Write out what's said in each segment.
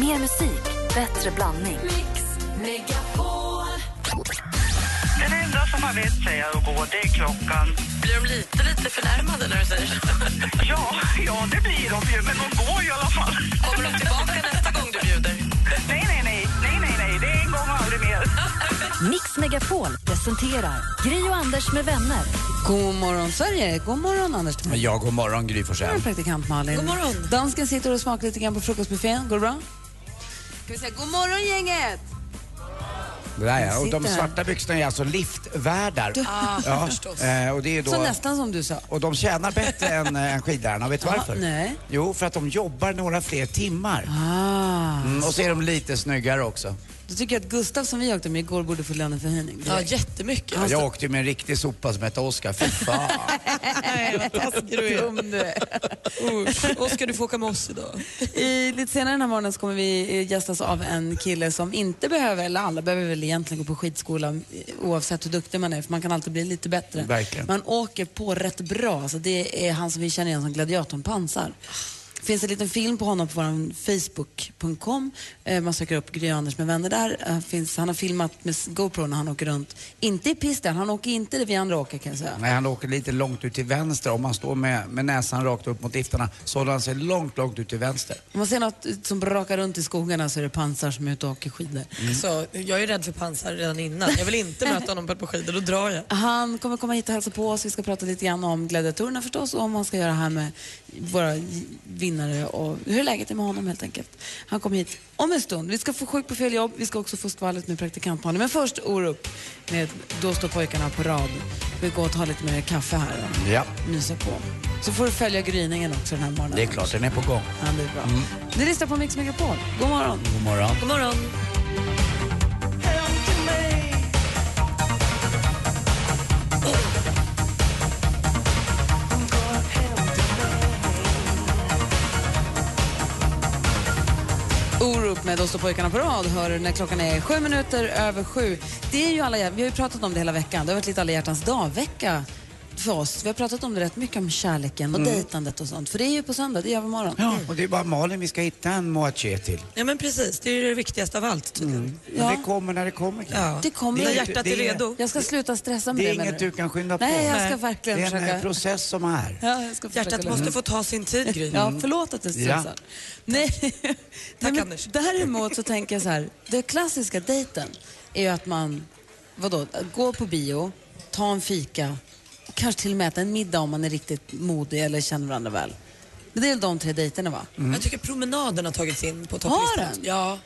Mer musik, bättre blandning. Den enda som har vett säger jag, att gå, det är klockan. Blir de lite, lite förnärmade när du säger så? Ja, ja, det blir de ju, men de går ju i alla fall. Kommer de tillbaka nästa gång du bjuder? Nej, nej, nej, nej, nej, nej, det är en gång och aldrig mer. Mix Megapol presenterar Gri och Anders med vänner. God morgon, Sverige. God morgon, Anders. God Ja, god morgon Gry Forssell. morgon, praktikant Malin. God morgon. Dansken sitter och smakar lite grann på frukostbuffén. Går det bra? Ska vi säga god morgon, gänget? Det där, ja. Och sitter de här. svarta byxorna är alltså liftvärdar. ja, förstås. Och, det är Så då, nästan som du sa. och de tjänar bättre än, eh, än skidlärarna. Och Vet du Ja, varför? nej. Jo, för att de jobbar några fler timmar. Ah. Mm, och så är de lite snyggare också. Då tycker jag att Gustav som vi åkte med igår borde få löneförhöjning. Ja, jättemycket. Jag åkte ju med en riktig sopa som hette Oskar. Fy fan. Nej, vad taskig du är. Om det. Usch. Oskar, du får åka med oss idag. I, lite senare den här morgonen så kommer vi eh, gästas av en kille som inte behöver, eller alla behöver väl egentligen gå på skidskola eh, oavsett hur duktig man är, för man kan alltid bli lite bättre. Verkligen. Man åker på rätt bra, så det är han som vi känner igen som gladiatorn Pansar. Det finns en liten film på honom på vår Facebook.com. Eh, Man söker upp Gry Anders med vänner där. Eh, Finns, han har filmat med s- GoPro när han åker runt. Inte i pisten, han åker inte det vi andra åker kan jag säga. Nej, han åker lite långt ut till vänster. Om man står med, med näsan rakt upp mot liftarna så håller han sig långt, långt ut till vänster. Om man ser något som brakar runt i skogarna så är det Pansar som är ute och åker skidor. Så, Mm. Alltså, jag är rädd för pansar redan innan. Jag vill inte möta honom på ett par skidor, då drar jag. Han kommer komma hit och hälsa på oss. Vi ska prata lite grann om gladiatorerna förstås och om vad han ska göra här med våra vinnare och hur läget är med honom helt enkelt. Han kommer hit om en stund. Vi ska få sjuk på fel jobb. Vi ska också få skvallret med praktikantmannen. Men först Orup med Då står pojkarna på rad. Vi går och tar lite mer kaffe här och Ja, myser på. Så får du följa gryningen också den här morgonen. det är klart. Den är på gång. Ja, det är bra. Du lyssnar på Mix Megapol. God morgon. God morgon. God morgon. Orup med Då står pojkarna på rad hör du när klockan är sju minuter över sju. Det är ju alla, hjär- vi har ju pratat om det hela veckan. Det har varit lite alla hjärtans dag-vecka för oss. Vi har pratat om det rätt mycket, om kärleken och dejtandet och sånt. För det är ju på söndag, det är övermorgon. Ja, och det är bara Malin vi ska hitta en moaché till. Ja, men precis. Det är ju det viktigaste av allt, tydligen. Men Ja. det kommer när det kommer. Kid. Ja. Det kommer När ju- hjärtat det är är- redo. Jag ska sluta stressa med Det det. är menar inget du? du kan skynda på. Nej, jag ska Nej. Det verkligen är en försöka. eh, process som är. Ja, jag ska försöka Hjärtat lösa måste det. få ta sin tid, Gry. Ja, förlåt att det stressar. Ja. Nej. Nej, men Anders. Däremot så tänker jag så här, den klassiska dejten är ju att man, vadå, går på bio, tar en fika, kanske till och med äta en middag om man är riktigt modig eller känner varandra väl. Men det är väl de tre dejterna va? Mm. Jag tycker promenaden har tagits in på Har topplistan. den? Ja.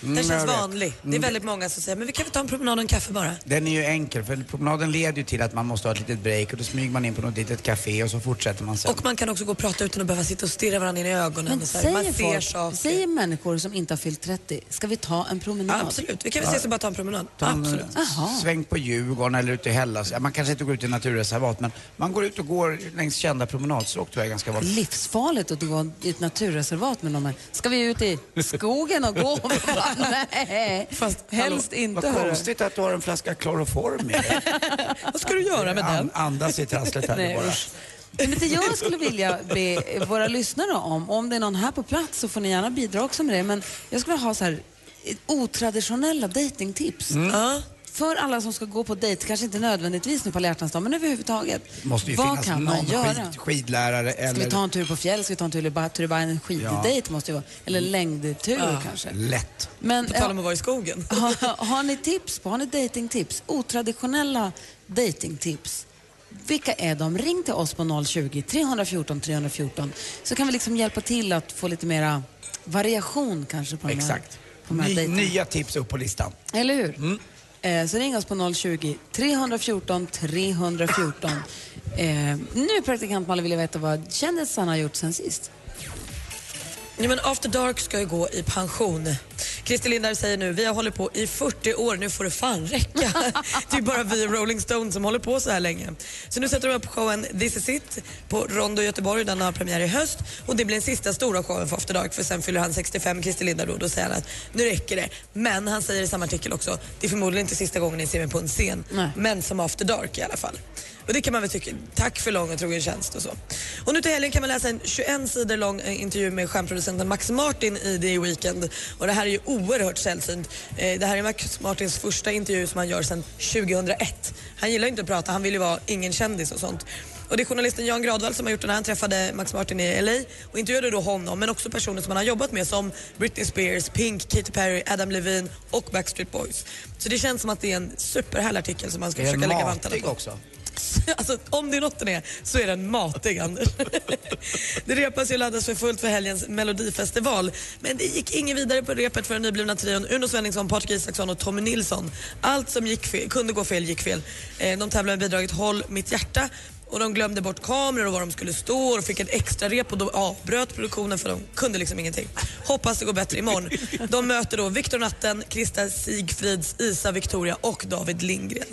Den jag känns vet. vanlig. Det är väldigt många som säger, men vi kan väl ta en promenad och en kaffe bara. Den är ju enkel för promenaden leder ju till att man måste ha ett litet break och då smyger man in på något litet café och så fortsätter man sen. Och man kan också gå och prata utan att behöva sitta och stirra varandra in i ögonen. Men och så här. Man säger, ser folk, saker. säger människor som inte har fyllt 30, ska vi ta en promenad? Ja, absolut. Vi kan väl ses och bara ta en promenad. Man, eh, Absolut. Jaha. Sväng på Djurgården eller ute i Hällas. Ja, man kanske inte går ut i naturreservat men man går ut och går längs kända promenadstråk tror jag är ganska vanligt. Livsfarligt att gå i ett naturreservat med någon. men Ska vi ut i skogen och gå? Nej, Fast, helst Vad inte. hörru. konstigt att du har en flaska kloroform med dig. Vad ska du göra med den? An- Andas i trasslet här nu Nej, bara. usch. Men det jag skulle vilja be våra lyssnare om, om det är någon här på plats så får ni gärna bidra också med det, men jag skulle ha så här eh, otraditionella datingtips. Mm. Ja. För alla som ska gå på dejt, kanske inte nödvändigtvis nu på alla hjärtans dag, men överhuvudtaget. måste ju vad finnas kan man någon göra? skid, skidlärare Ska eller vi ta en tur på fjäll? Ska vi ta en tur i Ba- Turbinen? Skiddejt måste ju vara. Eller längdtur kanske. lätt. Men, På tal om att vara i skogen. har, har ni tips på, har ni datingtips? Otraditionella datingtips. Vilka är de? Ring till oss på 020 314 314 så kan vi liksom hjälpa till att få lite mera variation kanske på de här, Exakt. på de här Ny, dejterna. nya tips upp på listan. Eller hur? Mm. Eh, så ring oss på 020 314 314. Eh, nu praktikant Malin vill jag veta vad kändisarna har gjort sen sist. Ja, men After Dark ska ju gå i pension. Christer Lindar säger nu, vi har hållit på i 40 år, nu får det fan räcka. det är bara vi och Rolling Stones som håller på så här länge. Så nu sätter de upp showen This is it på Rondo i Göteborg, den har premiär i höst. Och det blir den sista stora showen för After Dark för sen fyller han 65, Christer Lindar då, då säger han att nu räcker det. Men han säger i samma artikel också, det är förmodligen inte sista gången ni ser mig på en scen, Nej. men som After Dark i alla fall. Och det kan man väl tycka, tack för lång och trogen tjänst och så. Och nu till helgen kan man läsa en 21 sidor lång eh, intervju med stjärnproducenten Max Martin i The Weeknd. Och det här är ju oerhört sällsynt. Eh, Det här är Max Martins första intervju som han gör sedan 2001. Han gillar ju inte att prata, han vill ju vara ingen kändis och sånt. Och det är journalisten Jan Gradvall som har gjort den här. Han träffade Max Martin i LA och intervjuade då honom men också personer som han har jobbat med som Britney Spears, Pink, Katy Perry, Adam Levine och Backstreet Boys. Så det känns som att det är en superhärlig artikel som man ska Är försöka den lägga vantarna matig på. också? Alltså, om det är något den är så är den matig, Anders. det repas ju och laddas för fullt för helgens melodifestival. Men det gick ingen vidare på repet för den nyblivna trion Uno Svenningsson, Patrik Isaksson och Tommy Nilsson. Allt som gick fel, kunde gå fel gick fel. Eh, De tävlade med bidraget Håll mitt hjärta och de glömde bort kameror och var de skulle stå och fick ett extra rep och då avbröt produktionen för de kunde liksom ingenting. Hoppas det går bättre imorgon. De möter då Viktor Natten, Krista Sigfrids, Isa Victoria och David Lindgren.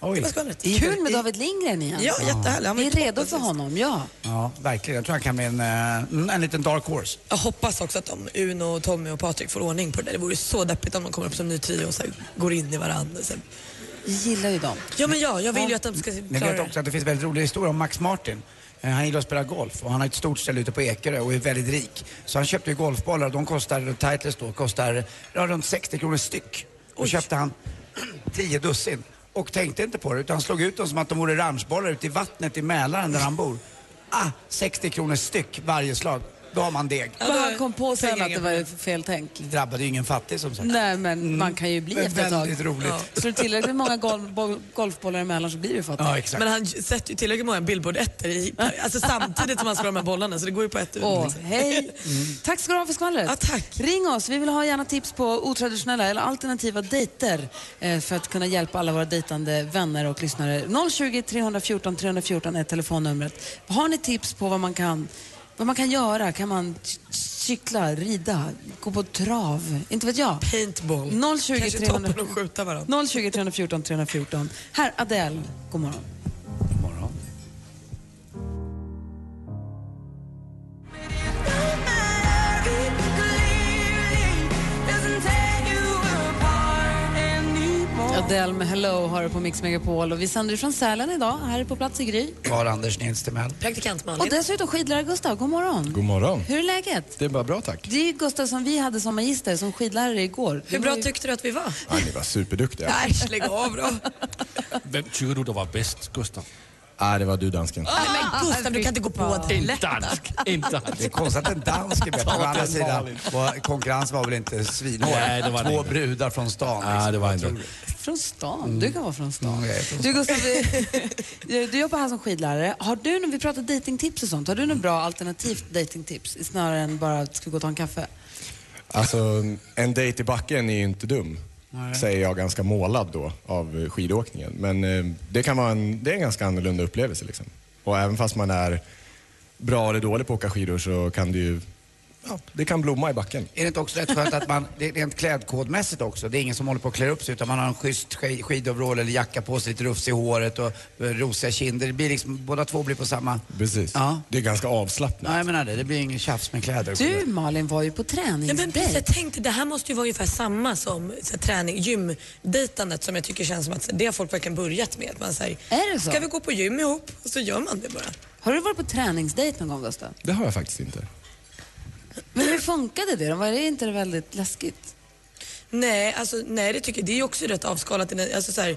Oj. Vad skvallret. Kul med David Lindgren igen. Ja, jättehärlig. Han var Vi ju är redo toppen för sist. honom, ja. Ja, verkligen. Jag tror han kan bli en, eh, en liten dark horse. Jag hoppas också att de, Uno, Tommy och Patrik får ordning på det där. Det vore så deppigt om de kommer upp som ny trio och så här, går in i varandra. Så. här. Vi gillar ju dem. Ja, men ja, jag vill ju att de ska klara Ni vet det. också att det finns väldigt roliga historier om Max Martin. Eh, Han gillar att spela golf och han har ett stort ställe ute på Ekerö och är väldigt rik. Så han köpte ju golfbollar och de kostar, Titleist då, kostar ja, runt 60 kronor styck. Då köpte han 10 dussin och tänkte inte på det utan slog ut dem som att de vore ranchbollar ute i vattnet i Mälaren där han bor. Ah, 60 kronor styck varje slag. Då har man deg. Bara han kom på sen pengar att det var fel tänk. Det drabbade ju ingen fattig som sagt. Nej, men man kan ju bli Mm. Men efter ett tag. väldigt roligt. Slår du tillräckligt många gol- bo- golfbollar emellan så blir du fattig. Ja, exakt. Men han sätter ju tillräckligt många billboard ettor i, alltså samtidigt som han slår de här bollarna så det går ju på ett ut. Åh, liksom. hej! Tack ska du ha för skvallret. Ja, tack. Ring oss. Vi vill ha gärna tips på otraditionella eller alternativa dejter eh, för att kunna hjälpa alla våra dejtande vänner och lyssnare. 020 314 314 är telefonnumret. Har ni tips på vad man kan, vad man kan göra? Kan man c- cykla, rida, gå på trav? Inte vet jag. Paintball. 020 Kanske 300 toppen och skjuta varandra. 020 314 314. Här, Adele. God morgon. Morgon. Adele med Hello har du på Mix Megapol och vi sänder från Sälen idag. Här är på plats i Gry. Var Anders Nils Timell. Praktikant Och Malin. dessutom skidlärare Gustav, god morgon. God morgon. Hur är läget? Det är bara bra tack. Det är ju Gustav som vi hade som magister, som skidlärare igår. Det Hur bra var ju- tyckte du att vi var? Ja, ni var superduktiga. Nej, lägg av då. Hvem tykker du, der var bedst, Gustav? Ah, det var du dansken. Nej, men Gustav, du kan inte gå på det. En dansk. En dansk. Det är konstigt att en dansk är bättre. Å andra sidan, var, konkurrensen var väl inte svinhård. Nej, det var det Två inte. brudar från stan. liksom. Ah, det var Jag inte. tror Från stan. Du kan vara från stan. Mm, jag är från Du Gustav, du, du jobbar här som skidlärare. Har du, när vi pratar datingtips och sånt, har du något bra alternativt datingtips? Snarare än bara att ska gå och ta en kaffe? Alltså, en dejt i backen är ju inte dum. Säger jag ganska målad då av eh, skidåkningen. Men eh, det, kan vara en, det är en ganska annorlunda upplevelse. Liksom. Och även fast man är bra eller dålig på att åka skidor så kan det ju ja, det kan blomma i backen. Är det inte också rätt skönt att man, det är rent klädkodmässigt också, det är ingen som håller på att klä upp sig utan man har en schysst sk- skidoverall eller jacka på sig, lite rufs i håret och eh, rosiga kinder. Det blir liksom, båda två blir på samma... Precis. Ja. Det är ganska avslappnat. Nej, jag menar det. Det blir ingen tjafs med kläder. och Du skidor. Malin var ju på Ja, men precis, jag träningsdejt. tänkte, det här måste ju vara ungefär samma som så här, träning, gymdejtandet som jag tycker känns som att så, det har folk verkligen börjat med. Att man säger, Är det så? ska vi gå på gym ihop? Och så gör man det bara. Har du varit på träningsdejt någon gång Gustav? Det har jag faktiskt inte. Men hur funkade det då? Var det inte väldigt läskigt? Nej, alltså, nej det tycker jag, det är ju också rätt avskalat. Alltså, så här,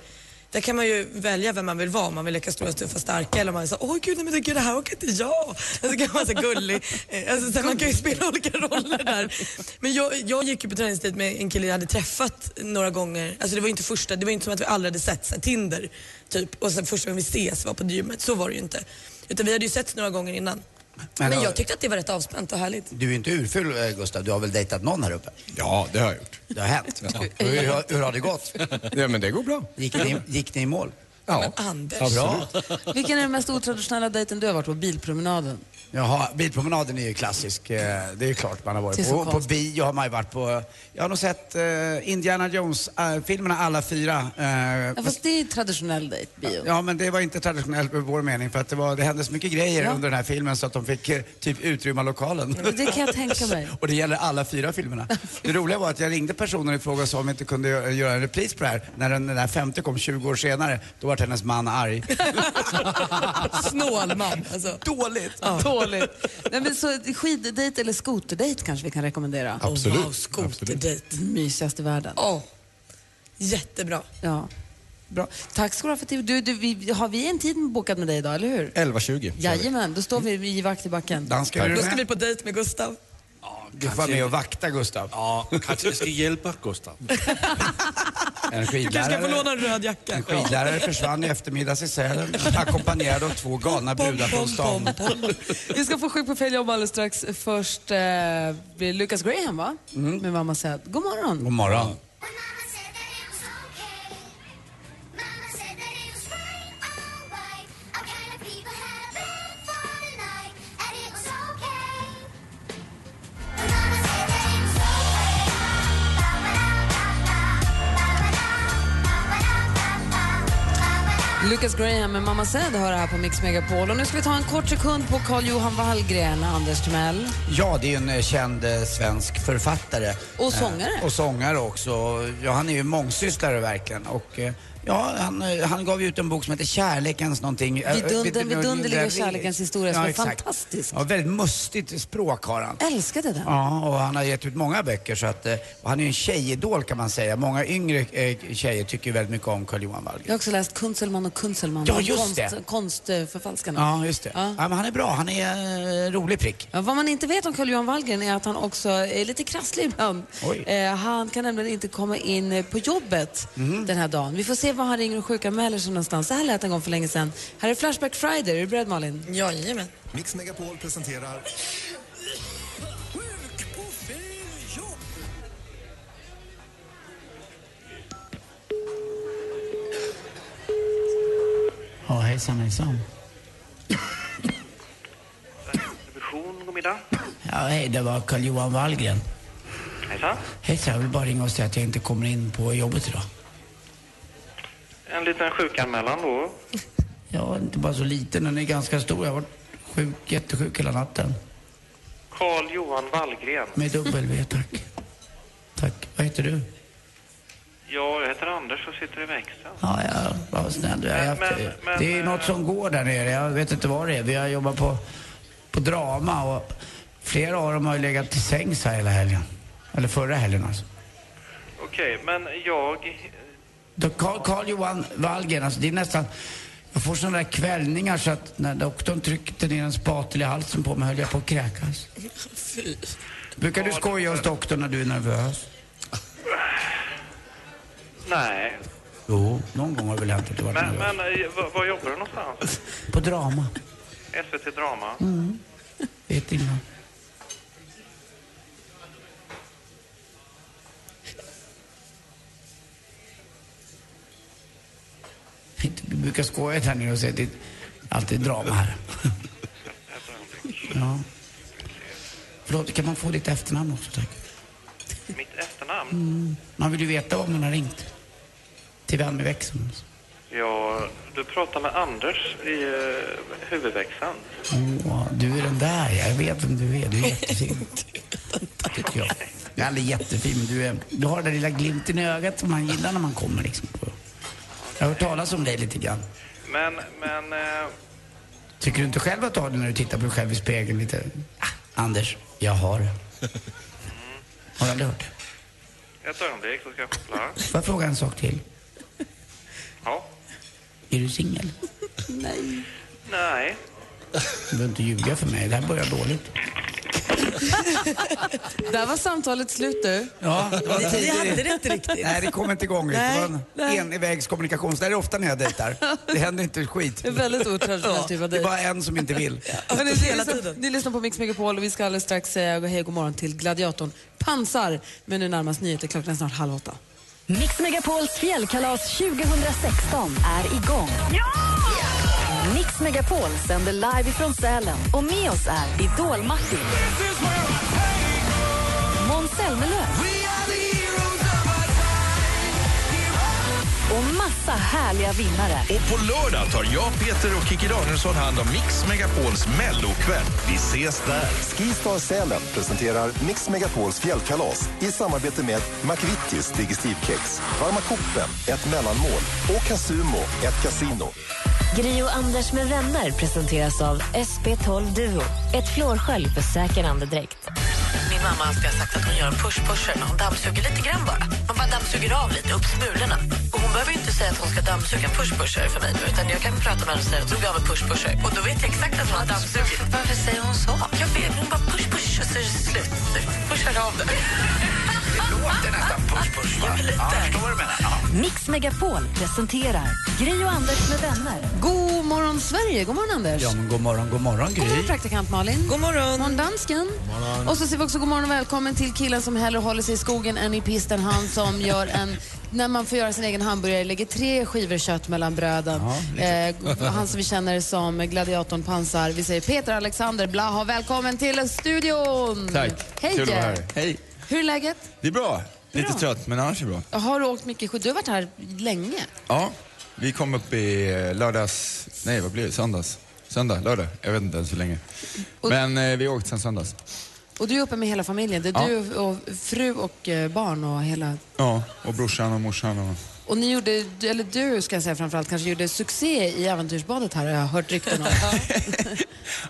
där kan man ju välja vem man vill vara, om man vill leka stora, tuffa, starka eller om man är så åh gud, nej, men gud, det här orkar inte jag. Alltså kan man vara så här gullig. Eh, Alltså, så här, man kan ju spela olika roller där. Men jag, jag gick ju på träningstid med en kille jag hade träffat några gånger. Alltså det var ju inte första, det var ju inte som att vi aldrig hade sett, så här, Tinder typ. Och sen första gången vi ses var på gymmet, så var det ju inte. Utan vi hade ju sett några gånger innan. Men, Men, ja. jag tyckte att det var rätt avspänt och härligt. Du är ju inte urful eh, Gustav, du har väl dejtat någon här uppe? Ja, det har jag gjort. Det har hänt. Hur, hur, hur har det gått? Ja, men det går bra. Gick ni, gick ni i mål? Ja. Anders. Bra. Vilken är den mest otraditionella dejten du har varit på? Bilpromenaden? Jaha, bilpromenaden är ju klassisk. eh, Det är ju klart man har Det är varit så på. På konstigt. bio har man ju varit på. Jag har nog sett eh, Indiana Jones-filmerna alla fyra. eh, Ja, fast det är ju traditionell dejt, bio. Ja, men det var inte traditionellt med vår mening för att det, var, det hände så mycket grejer Ja. under den här filmen så att de fick eh, typ utrymma lokalen. Det kan jag tänka mig. Och det gäller alla fyra filmerna. Det roliga var att jag ringde personen i fråga och sa om vi inte kunde gö- göra en repris på det här. När den, den här femte kom 20 år senare, då vart hennes man arg. Snål man. Alltså. Dåligt! Dåligt. Nej, men så skiddejt eller skoterdejt kanske vi kan rekommendera. Absolut. Oh, wow, skoterdejt. Mysigast i världen. Oh, jättebra. Ja. Bra. Tack ska du ha för tid. Du, du, vi, har vi en tid bokad med dig idag, eller hur? 11.20. kör vi. Jajamän, då står vi i vakt i backen. Dan, ska du Då ska vi med? på dejt med Gustav. Ja, Du får vara med och vakta Gustav. Ja, kanske jag ska hjälpa Gustav. En Du ska få skidlärare. låna en röd jacka. En skidlärare försvann i eftermiddags i Sälen ackompanjerad av två galna brudar från stan. Vi ska få sjuk på fel jobb alldeles strax. Först eh, blir Lucas Graham, va? Med Mamma Säd. God morgon. God morgon. When Mama said that it was okay, Mama said that it was fine, alright. All kind of people had a bed for the night, and it was okay. When Mama said that it was okay, ba ba da ba ba, ba ba da, ba ba da ba ba, ba ba da. Lucas Graham med Mamma Säd hör det här på Mix Megapol. Och nu ska vi ta en kort sekund på Carl-Johan Wallgren, Anders Timell. Ja, det är ju en eh, känd eh, svensk författare. Och sångare. Eh, och sångare också. Ja, han är ju mångsysslare verkligen. Och, eh, ja, han, eh, han gav ju ut en bok som heter Kärlekens någonting. Eh, Vidunder- vid- vid- vidunderliga kärlekens historia som är fantastisk. Ja, väldigt mustigt språk har han. Älskade den. Ja, och han har gett ut många böcker så att eh, och han är ju en tjejidol kan man säga. Många yngre eh, tjejer tycker ju väldigt mycket om Carl-Johan Wallgren. Jag har också läst Kunzelman och Kunzelman. Ja, just konst, det. Konstförfalskarna. Ja, just det. Ja. men han är bra. Han är eh, en rolig prick. Ja, vad man inte vet om Carl-Johan Wallgren är att han också är lite krasslig ibland. Oj. Eh, han kan nämligen inte komma in eh, på jobbet Mhm. den här dagen. Vi får se var han ringer och sjukanmäler sig någonstans. Så här lät det en gång för länge sedan. Här är Flashback Friday. Är du beredd Malin? Jajamän. Mix Megapol presenterar Ja, hejsan hejsan. Television, god middag. Ja, hej, det var Carl-Johan Wallgren. Hejsan. Hejsan, jag vill bara ringa och säga att jag inte kommer in på jobbet idag. En liten sjukanmälan då. Jag är inte bara så liten, den är ganska stor. Jag har varit sjuk, jättesjuk hela natten. Carl Johan Wallgren. Med W, tack. Tack. Vad heter du? Ja, jag heter Anders och sitter i växeln. Ja, ja vad snäll du är. Jag har haft- Men- men- Det är något som går där nere. Jag vet inte vad det är. Vi har jobbat på, på drama och flera av dem har ju legat till sängs här hela helgen. Eller förra helgen alltså. Okej, men jag... Då Carl, Carl Johan Wallgren, alltså det är nästan... Jag får sådana där kvällningar så att när doktorn tryckte ner en spatel i halsen på mig höll jag på att kräkas. Fy. Brukar du skoja hos doktorn när du är nervös? Nej. Jo. Någon gång har det väl hänt att du varit Men, nervös? men eh, var, var jobbar du någonstans? På drama. SVT Drama? Vet ingen. Du brukar skoja här nere och säga att det är alltid drama här. Ja. Förlåt, kan man få ditt efternamn också tack? Mitt efternamn? Man vill ju veta vad man har ringt. Till vem i växeln? alltså. Ja, du pratar med Anders i eh, huvudväxeln. Åh, du är den där ja. Jag vet vem du är. Du är jättefin. Tycker jag. Du är aldrig jättefin, men du, är, du har den där lilla glimten i ögat som man gillar när man kommer liksom. På. Jag har hört talas om dig lite grann. Men, men... Eh, Tycker du inte själv att du har det när du tittar på dig själv i spegeln lite? Ah, Anders, jag har det. Har du aldrig hört det? ett ögonblick så ska jag koppla. Får jag fråga en sak till? Ja. Är du singel? Nej. Du behöver inte ljuga för mig. Det här börjar dåligt. Där var samtalet slut du. Ja, det var Vi hade det inte riktigt. Nej, det kom inte igång. det var en envägskommunikation. Det här är ofta när jag dejtar. Det händer inte ett skit. Det är väldigt otraditionell typ av Det är dejt. bara en som inte vill. Hörrni, ni, Hela lyssnar, tiden. ni lyssnar på Mix Megapol och vi ska alldeles strax säga hej och god morgon till gladiatorn Pansar. Men nu närmast nyheter. Klockan är snart halv åtta. Mix Megapols fjällkalas 2016 är igång. Mix Mix Megapol sänder live ifrån Sälen och med oss är Idol-Martin. Måns Zelmerlöw. Och massa härliga vinnare. Och på lördag tar jag, Peter och Kikki Danielsson hand om Mix Megapols mellokväll. Vi ses där! Skistar Sälen presenterar Mix Megapols fjällkalas i samarbete med McVittys Digestivkex, Varma Koppen, ett mellanmål och Casumo, ett kasino. Gri och Anders med vänner presenteras av SP12 Duo. Ett flårskölj för säker andedräkt. Min mamma alltid har sagt att hon gör en push-pusher när hon dammsuger lite grann bara. Man bara dammsuger av lite, upp smulorna. Och hon behöver ju inte säga att hon ska dammsuga en push-pusher för mig nu, utan jag kan prata med henne och säga att drog av en push-pusher. Och då vet jag exakt att hon har dammsugit. Varför säger hon så? Jag vet, hon bara push-push och så är det slut. Pushar av det. Det låter nästan push-push, va? Ja, jag förstår vad du menar. Ja. Mix Megapol presenterar Gri och Anders med vänner. God morgon, Sverige. God morgon, Anders. Ja, men god morgon, god morgon God morgon, Gry. praktikant Malin. God morgon. God morgon, dansken. Och så säger vi också god morgon och välkommen till killen som hellre håller sig i skogen än i pisten. Han som gör en... När man får göra sin egen hamburgare, lägger tre skivor kött mellan bröden. eh, han som vi känner som gladiatorn Pansar. Vi säger Peter Alexander Blaha. Välkommen till studion! Tack. Hej! Kul att vara här. Hej. Hur är läget? Det är bra. Lite Bra. trött, men annars är det bra. Har du åkt mycket skid? Du har varit här länge. Ja, vi kom upp i eh, lördags... Nej, vad blir det? Söndags? Söndag? Lördag? Jag vet inte ens hur länge. Men eh, vi har åkt sen söndags. Och du är uppe med hela familjen. Det är Ja. du och fru och eh, barn och hela... Ja, och brorsan och morsan och... Och ni gjorde, du- eller du ska jag säga framförallt, kanske gjorde succé i Äventyrsbadet här har jag hört rykten om.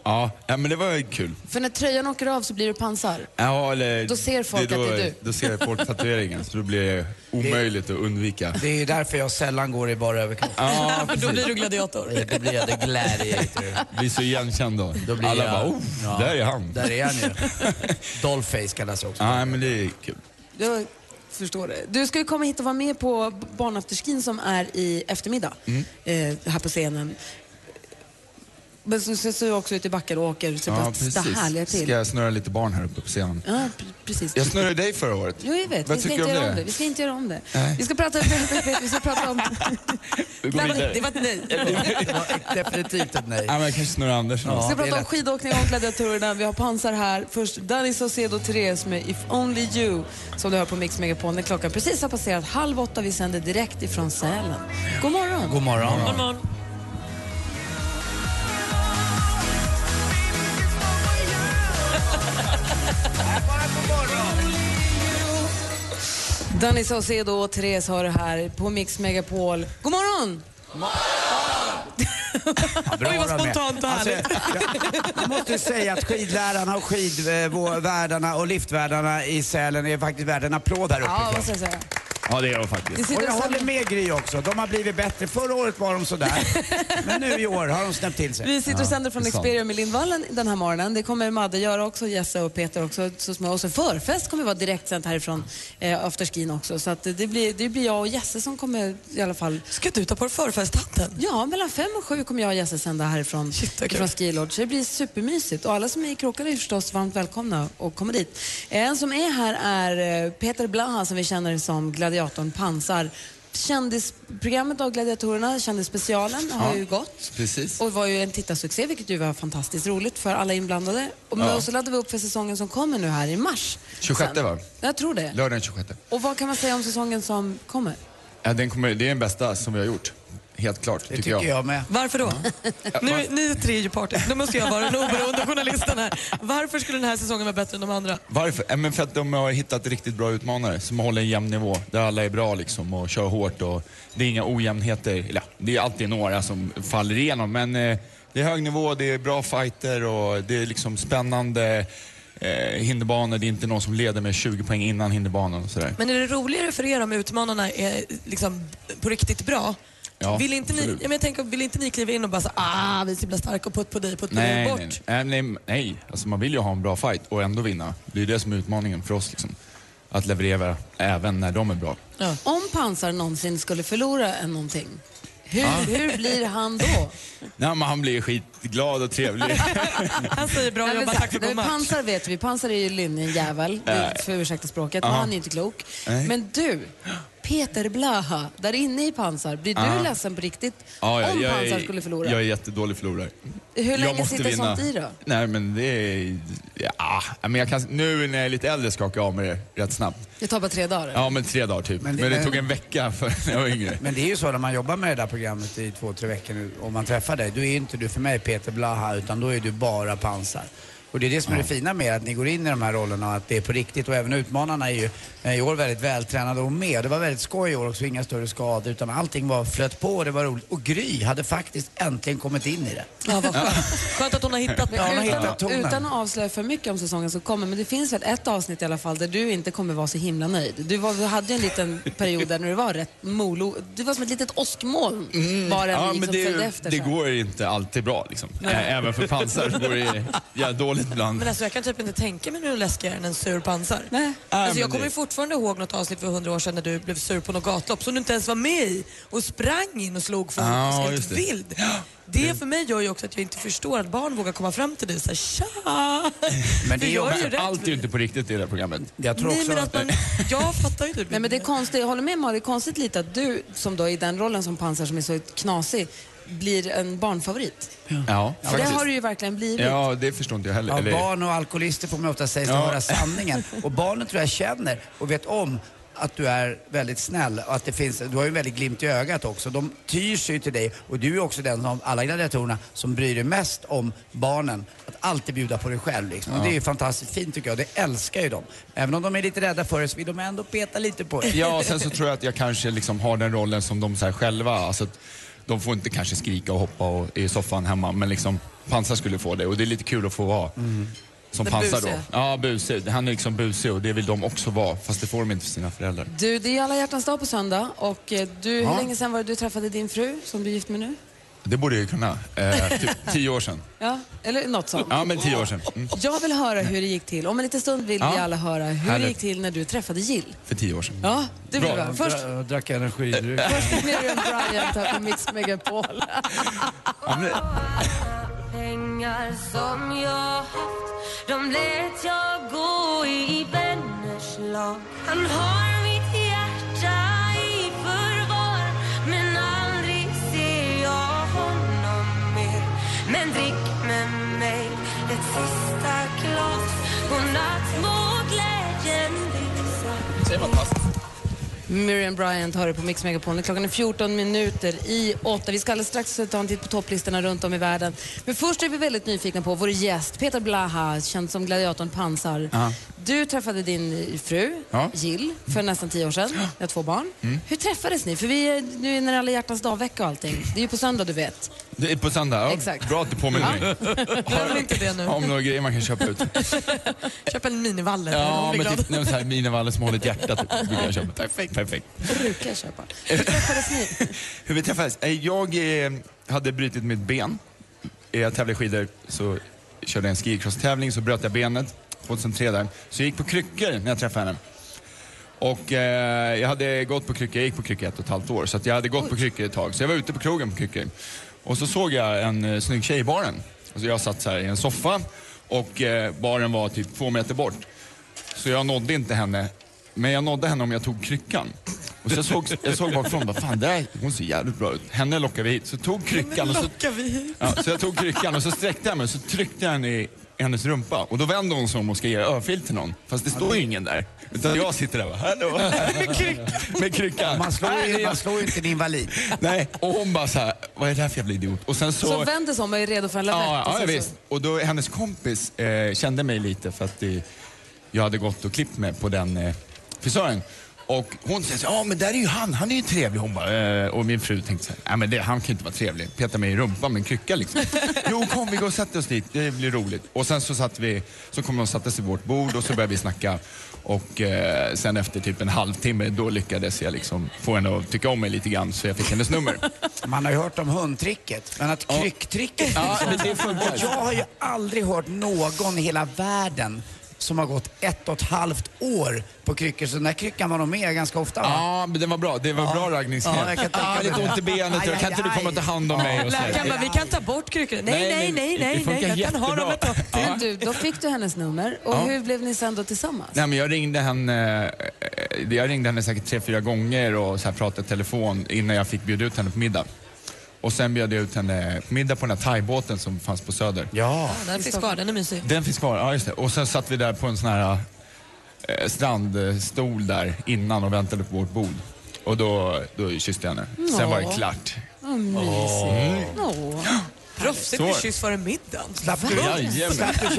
Ja, ja men det var ju kul. För när tröjan åker av så blir du pansar. Ja, eller, Då ser folk då, att det är du. Då ser folk tatueringen, så då blir det omöjligt att undvika. Det är därför jag sällan går i bara överkropp. Ja, För då blir du gladiator. Då blir jag the gladiator. Blir så igenkänd då. blir Alla jag- bara, oh, Ja. där är han. Där är han ju. Dollface kallas jag också. Nej, men det är kul. Jag förstår det. Du ska ju komma hit och vara med på barnafterskin som är i eftermiddag Mm. eh, här på scenen. Men så ser du också ut i backen och åker och ser bara så härliga till. Ska jag snurra lite barn här uppe på scenen? Ja, pre- precis. Jag snurrade dig förra året. Jo, jag vet. Vad vi, ska tycker inte du om göra om det? det. vi ska inte göra om det. Nej. Vi ska prata, vi ska prata om... Vi går vidare. Det var ett nej. Definitivt ett nej. Ja, men jag kanske snurrar Anders nu. Vi ska prata om skidåkning och gladiatorerna. Vi har pansar här. Först Danny Saucedo och Therese med If Only You som du hör på Mix Megapol när klockan precis har passerat halv åtta. Vi sänder direkt ifrån Sälen. God morgon! God morgon. God morgon. Danny Saucedo och Therese har det här på Mix Megapol. God morgon! Oj, vad Bra de är. spontant och Alltså, härligt. jag, jag måste ju säga att skidlärarna och skidvärdarna och liftvärdarna i Sälen är faktiskt värda en applåd här uppe. Ja, vad ska jag säga? Ja, det är jag Ni faktiskt. Och sitter jag och håller samlar, med Gry också. De har blivit bättre. Förra året var de sådär. Men nu i år har de snäppt till sig. vi sitter och sänder från det är sant. Experium i Lindvallen den här morgonen. Det kommer Madde göra också, Jesse och Peter också. Så små. Och så förfest kommer vara direktsänt härifrån eh, afterskin också. Så att det, blir, det blir jag och Jesse som kommer i alla fall Ska du ta på dig förfesthatten? Ja, mellan fem och sju kommer jag och Jesse sända härifrån Shit, vad kul. från Ski Lodge. Det blir supermysigt. Och alla som är i Kråkarna är förstås varmt välkomna och komma dit. En som är här är eh, Peter Blaha som vi känner som gladiatorn Pansar. Kändisprogrammet av Gladiatorerna, Kändisspecialen, har Ja. ju gått. Precis. Och var ju en tittarsuccé, vilket ju var fantastiskt roligt för alla inblandade. Och, men Ja. och så laddade vi upp för säsongen som kommer nu här i mars. 26 Sen. va? Jag tror det. Lördag den 26. Och vad kan man säga om säsongen som kommer? Ja, den kommer, det är den bästa som vi har gjort. Helt klart, Det tycker, tycker jag med. Varför då? Nu, ni tre är ju parter. Nu måste jag vara den oberoende journalisten här. Varför skulle den här säsongen vara bättre än de andra? Varför? Ja, men för att de har hittat riktigt bra utmanare som håller en jämn nivå. Där alla är bra liksom och kör hårt. Och det är inga ojämnheter. Eller, ja, det är alltid några som faller igenom. Men eh, det är hög nivå, det är bra fighter och det är liksom spännande eh, hinderbanor. Det är inte någon som leder med 20 poäng innan hinderbanan och sådär. Men är det roligare för er om utmanarna är liksom på riktigt bra? Ja, vill, inte ni, ja, absolut. men jag tänker, vill inte ni kliva in och bara så, ah, vi ska bli starka och putt på dig, putt på dig Nej, bort? nej, nej. nej, nej, nej. Alltså, man vill ju ha en bra fight och ändå vinna. Det är det som är utmaningen för oss. Liksom. Att leverera även när de är bra. Om Pansar någonsin skulle förlora en någonting, Ah. hur, hur blir han då? Nej, men han blir skitglad och trevlig. Han säger "Alltså, bra Nej, men jobbat, så- tack för nej, god men match. Pansar vet vi, Pansar är ju linjen jävel, Nej. för ursäkta språket, och Aha. han är inte klok. Nej. Men du, Peter Blaha där inne i pansar. Blir du Ah. ledsen på riktigt Ja, ja, om jag pansar är- skulle förlora? Jag är jättedålig förlorare. Hur Jag länge måste sitter vinna. sånt i då? Nej, men det är... Ja, men jag kan, nu när jag är lite äldre skakar jag av mig det rätt snabbt. Det tar bara tre dagar. Ja, men tre dagar typ. Men det, tog en vecka för när jag var yngre. Men det är ju så när man jobbar med det där programmet i två, tre veckor nu, om man träffar dig, då är inte du för mig Peter Blaha, utan då är du bara pansar. Och det är det som är det fina med er, att ni går in i de här rollerna och att det är på riktigt. Och även utmanarna är ju eh, i år väldigt vältränade och med. Det var väldigt skoj i år också, inga större skador utan allting var flöt på och det var roligt. Och Gry hade faktiskt äntligen kommit in i det. Ja, vad skönt. skönt att hon har hittat Ja, hon har utan, hittat tonen. utan att avslöja för mycket om säsongen som kommer, men det finns väl ett avsnitt i alla fall där du inte kommer vara så himla nöjd. Du, var, du hade ju en liten period där när du var rätt molo. Du var som ett litet åskmoln bara ja, liksom men det, följde är- efter. det sen. går ju inte alltid bra liksom. Nej. Ä- Även för pansar går det ja, dåligt ibland. Men alltså jag kan typ inte tänka mig något läskigare än en sur pansar. Nej. Alltså men jag kommer det- ju fortfarande ihåg något avsnitt för hundra år sedan när du blev sur på något gatlopp som du inte ens var med i och sprang in och slog folk Ja, och skrek just det. vild. Det för mig gör ju också att jag inte förstår att barn vågar komma fram till dig och säga tja. Men det gör ju rätt. Allt är ju inte på riktigt i det här programmet. Jag tror Nej, också men att- att man- Jag fattar ju typ Nej, men det är konstigt. Jag håller med Mario, det är konstigt lite att du som då är i den rollen som pansar som är så knasig blir en barnfavorit. Ja, För det faktiskt. har du ju verkligen blivit. Ja, det förstår inte jag heller. Ja, Eller- barn och alkoholister får man ofta säga ska Ja. höra sanningen. Och barnen tror jag känner och vet om att du är väldigt snäll och att det finns, du har ju en väldigt glimt i ögat också. De tyr sig ju till dig och du är också den av alla gladiatorerna som bryr dig mest om barnen. Att alltid bjuda på dig själv liksom. Och Ja. det är ju fantastiskt fint tycker jag. Det älskar ju de. Även om de är lite rädda för det så vill de ändå peta lite på dig. Ja, och sen så tror jag att jag kanske liksom har den rollen som de så här själva. Alltså att de får inte kanske skrika och hoppa och, i soffan hemma, men liksom pansar skulle få det och det är lite kul att få vara. Mm. Som Den pansar då. busiga. Ja, busig. Han är liksom busig och det vill de också vara, fast det får de inte för sina föräldrar. Du, det är alla hjärtans dag på söndag och eh, du, hur Ja. länge sedan var det du träffade din fru som du är gift med nu? Det borde jag ju kunna. Eh, typ tio år sedan. Ja, eller något sånt. Ja, men tio år sedan. Mm. Jag vill höra hur det gick till. Om en liten stund vill Ja. vi alla höra hur det Härligt. gick till när du träffade Jill. För tio år sedan. Ja, det vill vi höra. Först Jag drack energidryck. Miriam Bryant här på Mix Megapol. Ja, men- Pengar som jag haft De lät jag gå i vänners lag Han har mitt hjärta i förvar Men aldrig ser jag honom mer Men drick med mig ett sista glas Godnatt må glädjen lysa Miriam Bryant har det på Mix Megapol. Nu är Klockan är 14 minuter i åtta. Vi ska alldeles strax ta en titt på topplistorna runt om i världen. Men först är vi väldigt nyfikna på vår gäst, Peter Blaha, känd som gladiatorn Pansar. Ja. Du träffade din fru, Ja. Mm. Jill, för nästan tio år sedan. Jag har två barn. Hur träffades ni? För vi är nu när alla hjärtans dag-vecka och allting. Det är ju på söndag, du vet. Det är på söndag. Ja, Exakt. Bra att du påminner mig. Glöm inte det nu. Om några grejer man kan köpa ut. Köp en minivalle. Ja, Hon blir men glad. typ någon så här minivalle som håller ett hjärta typ, brukar jag köpa. Perfekt. Perfekt. Brukar köpa. Hur träffades ni? Hur vi träffades? Eh, Jag eh, hade brutit mitt ben. Eh, Jag tävlade i skidor, så körde jag en skicross-tävling, så bröt jag benet 2003 där. Så jag gick på kryckor när jag träffade henne. Och eh, jag hade gått på kryckor, jag gick på kryckor ett och ett halvt år, så att jag hade gått på kryckor ett tag. Så jag var ute på krogen på kryckor. Och så såg jag en eh, snygg tjej i baren. Och så jag satt så här i en soffa och eh, baren var typ två meter bort. Så jag nådde inte henne, men jag nådde henne om jag tog kryckan. Och så jag såg, jag såg bakifrån, bara, fan där, hon ser jävligt bra ut. Henne lockar vi hit. Så tog kryckan och så Lockar vi hit. Ja, så jag tog kryckan och så sträckte jag mig och så tryckte jag den i hennes rumpa. Och då vänder hon sig om och ska ge örfil till någon. Fast det står ju ingen där. Utan jag sitter där och bara, hallå. Med, kryck, med kryckan. Man slår ju- Nej, man slår ju inte en invalid. Nej, och hon bara så här, vad är det här för jävla idiot? Och sen Så, så... vänder sig om och är redo för en lavett. ja, och ja, sen ja, så- visst. Och då hennes kompis eh, kände mig lite för att eh, jag hade gått och klippt mig på den eh, frisören. Och hon säger så här, ja men där är ju han, han är ju trevlig. Hon bara, eh, och min fru tänkte så här, nej men det, han kan ju inte vara trevlig. Peta mig i rumpan med en krycka liksom. jo kom vi går och sätter oss dit, det blir roligt. Och sen så satt vi, så kom de och satte sig vid vårt bord och så började vi snacka. Och eh, sen efter typ en halvtimme, då lyckades jag liksom få henne att tycka om mig lite grann så jag fick hennes nummer. Man har ju hört om hundtricket, men att krycktricket Ja, finns men det också. funkar. Och jag har ju aldrig hört någon i hela världen som har gått ett och ett halvt år på kryckor. Så den där kryckan var nog med ganska ofta va? Ja, men den var bra. Det var bra raggningsknep. Ja, jag kan tänka ah, mig lite det. ont i benet. Aj, Kan aj, inte du komma och ta hand om mig? Och så här. Läkaren bara, vi kan ta bort kryckorna. Nej, nej, nej, det nej, nej. funkar Jag kan ha dem jättebra. ett tag. Ja. Men du, då fick du hennes nummer. Och Ja. hur blev ni sen då tillsammans? Nej, men jag, ringde henne, eh, jag ringde henne säkert tre, fyra gånger och så här pratade i telefon innan jag fick bjuda ut henne på middag. Och sen bjöd jag ut henne på middag på den här thaibåten som fanns på Söder. Ja. Den finns kvar, den är mysig. Den finns kvar, ja just det. Och sen satt vi där på en sån här eh, strandstol där innan och väntade på vårt bord. Och då, då kysste jag henne. Sen var det Ja. klart. Vad mysigt. Åh. Proffsigt Så. med kyss före middagen. Slapp du- Jajamän. Slapp du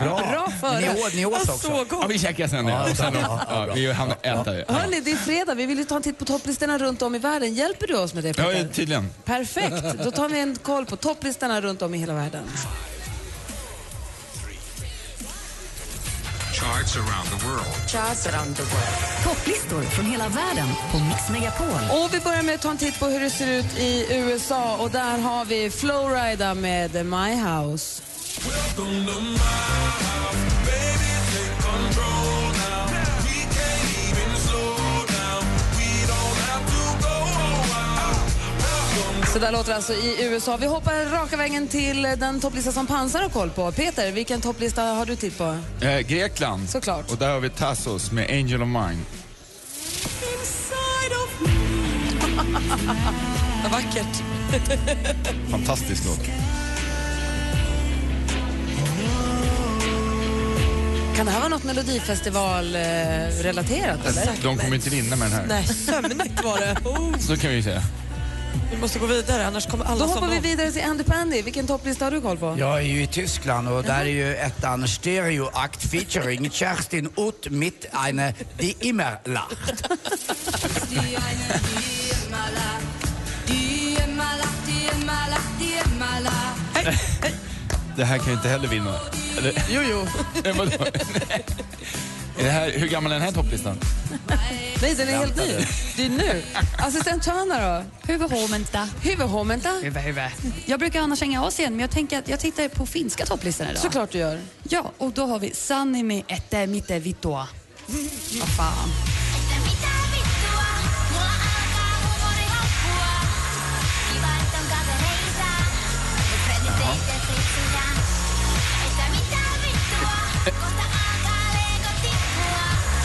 Bra före. Ni åt- ni åt Ja, också. Så gott. Ja, vi käkade sen. Ja, och sen ja, vi hann äta. Ja. Hörni, det är fredag. Vi vill ju ta en titt på topplistorna runt om i världen. Hjälper du oss med det, Ja, Peter? tydligen. Perfekt. Då tar vi en koll på topplistorna runt om i hela världen. Charts around the world. Topplistor från hela världen på Mix Megapol. Och vi börjar med att ta en titt på hur det ser ut i USA och där har vi Flowrida med My House. Så där låter det alltså i USA. Vi hoppar raka vägen till den topplista som Pansar har koll på. Peter, vilken topplista har du titt på? Eh, Grekland. Såklart. Och där har vi Tassos med Angel of Mine. Vad vackert. Fantastisk låt. Kan det här vara något Melodifestival-relaterat? eller? De kommer inte vinna med den här. Nej, sömnigt var det. Oh, Så kan vi ju säga. vi måste gå vidare, annars kommer alla Alltså, Då hoppar somna vi om. vidare till Andy Pandy. Vilken topplista har du koll på? Jag är ju i Tyskland och där är ju ettan Stereoakt featuring Kerstin Ott mit eine die immer lacht. Det här kan ju inte heller vinna. Eller? Jo, jo. Nej, vadå? Nej. Är det här, hur gammal är den här topplistan? Nej, den är helt ny. Väntade. Det är nu. Assistent Johanna då? Huvudhåmenta. Huvudhåmenta? Jag brukar annars hänga av igen, men jag tänker att jag tittar på finska topplistan idag. Såklart du gör. Ja, och då har vi Sanni med Ette Mitte Vittua. Vad fan.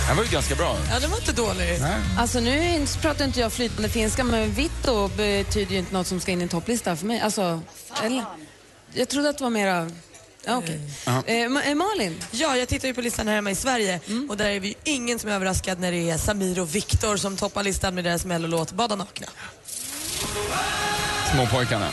Den var ju ganska bra. Ja, den var inte dålig. Alltså nu är inte- pratar inte jag flytande finska, men vitto betyder ju inte något som ska in i en topplista för mig. Alltså, eller? Jag trodde att det var mera... Ja, okej. Eh, Ma- eh, Malin? Ja, jag tittar ju på listan här hemma i Sverige och där är vi ju ingen som är överraskad när det är Samir och Viktor som toppar listan med deras mellolåt Bada nakna. Småpojkarna.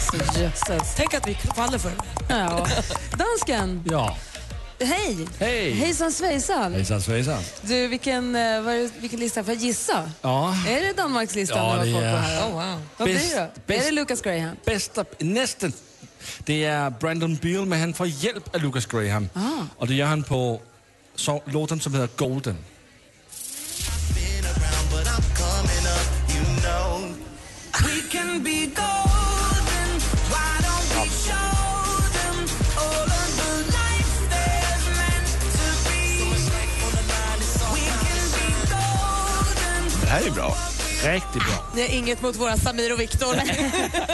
Så jösses. Tänk att vi faller för det. Ja. Dansken, Ja. hej! Hej. Hejsan svejsan! Hejsan svejsan. Du, vilken, eh, vad är det- vilken lista får jag gissa? Ja. Är det Danmarkslistan Ja, du har det koll på är- här? Oh, wow. Vad Bäst- blir det då? Är bäst- det Lucas Graham? Bästa, nästen. Det är Brandon Beal, men han får hjälp av Lucas Graham. Ah. Och det gör han på så, låten som heter Golden. Det här är bra. Riktigt bra. Det är inget mot våra Samir och Viktor.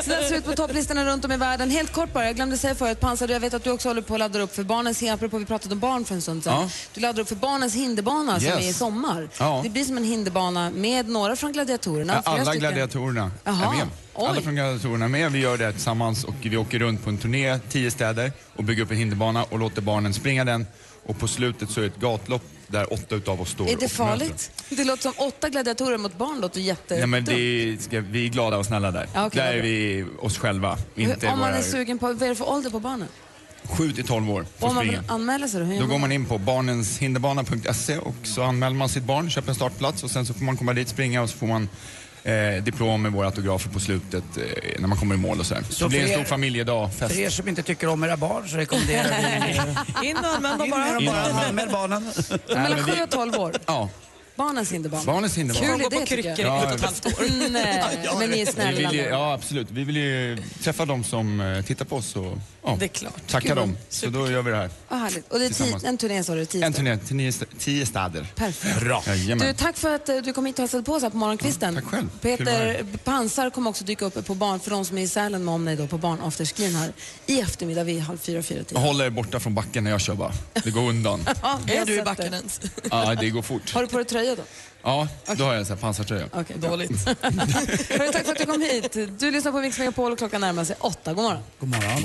Så där ser det ut på topplistorna runt om i världen. Helt kort bara, jag glömde säga förut, Pansar, jag vet att du också håller på att ladda upp för barnens, apropå vi pratade om barn för en stund sedan, Ja. du laddar upp för barnens hinderbana som Yes. är i sommar. Ja. Det blir som en hinderbana med några från gladiatorerna. Ja, flera alla stycken. gladiatorerna Jaha. är med. Alla Oj. från gladiatorerna är med. Vi gör det tillsammans och vi åker runt på en turné, tio städer och bygger upp en hinderbana och låter barnen springa den. Och på slutet så är det ett gatlopp där åtta utav oss står Är det och möter dem. farligt? Det låter som åtta gladiatorer mot barn låter jätte... Nej, men det ska, vi är glada och snälla där. Ja, okej, där vad är bra. vi oss själva, inte Hur- Om man våra är sugen på, vad är det för ålder på barnen? 7 till 12 år. Får Om man vill springa. anmäla sig då, hur gör Då går man in på barnenshinderbana.se och så anmäler man sitt barn, köper en startplats och sen så får man komma dit, springa och så får man eh, diplom med våra autografer på slutet eh, när man kommer i mål och sådär. Så, Så det blir en för er- stor familjedag, fest. För er som inte tycker om era barn så rekommenderar vi... In och använd dem bara. Bara anmäl barnen. Mellan 7 och 12 år. Ja. Barnens hinderbarn. Barnens hinderbarn. Kul Gå idé på tycker jag. kryckor i Ja, ett och ett halvt år. Nej, men ni är Vi snälla. vill ju, nu. ja, absolut. Vi vill ju träffa de som eh, tittar på oss och ja, Det är klart. tacka Kul. dem. Så då gör vi det här. Vad härligt. Och det är Tillsammans. ti- en turné sa du, tisdag. En turné till nio, st- tio städer. Perfekt. Bra. Du, Jajamän. tack för att eh, du kom hit och hälsade på oss här på morgonkvisten. tack själv. Kul att vara här. Peter Pansar kommer också dyka upp på barn, för de som är i Sälen med om dig då, på barnafterskin här i eftermiddag vid halv fyra, fyra tio. Håll er borta från backen när jag kör bara. Det går undan. Ja, vi har Är du i sett backen det. ens? Ja, det går fort. Har du på dig tröja då? Ja, då har jag en sån här pansartröja. Okej, bra. Hörru, tack för att du kom hit. Du lyssnar på Mix Megapol och klockan närmar sig åtta. God morgon. God morgon.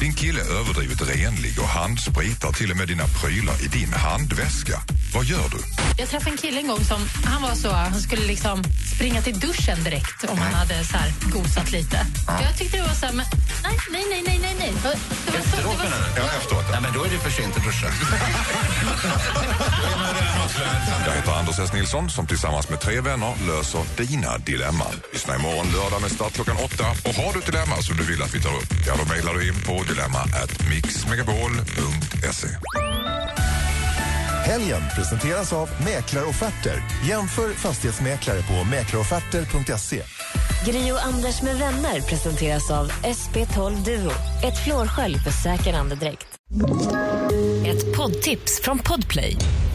Din kille är överdrivet renlig och handspritar till och med dina prylar i din handväska. Vad gör du? Jag träffade en kille en gång som han var så, han skulle liksom springa till duschen direkt om han hade så här gosat lite. Jag tyckte det var så här, men nej, nej, nej, nej, nej, nej. Det var- Det var så, det var så. Ja, efteråt. Nej, men då är det för sent att duscha. Jag heter Anders S. Nilsson som tillsammans med tre vänner löser dina dilemman. Lyssna imorgon lördag med start klockan åtta. Och har du ett dilemma som du vill att vi tar upp, ja då mejlar du in på dilemma at mixmegapol.se. Helgen presenteras av Mäklarofferter. Jämför fastighetsmäklare på mäklarofferter.se. Gri och Anders med vänner presenteras av SP12 Duo. Ett flårskölj för säker andedräkt. Ett poddtips från Podplay.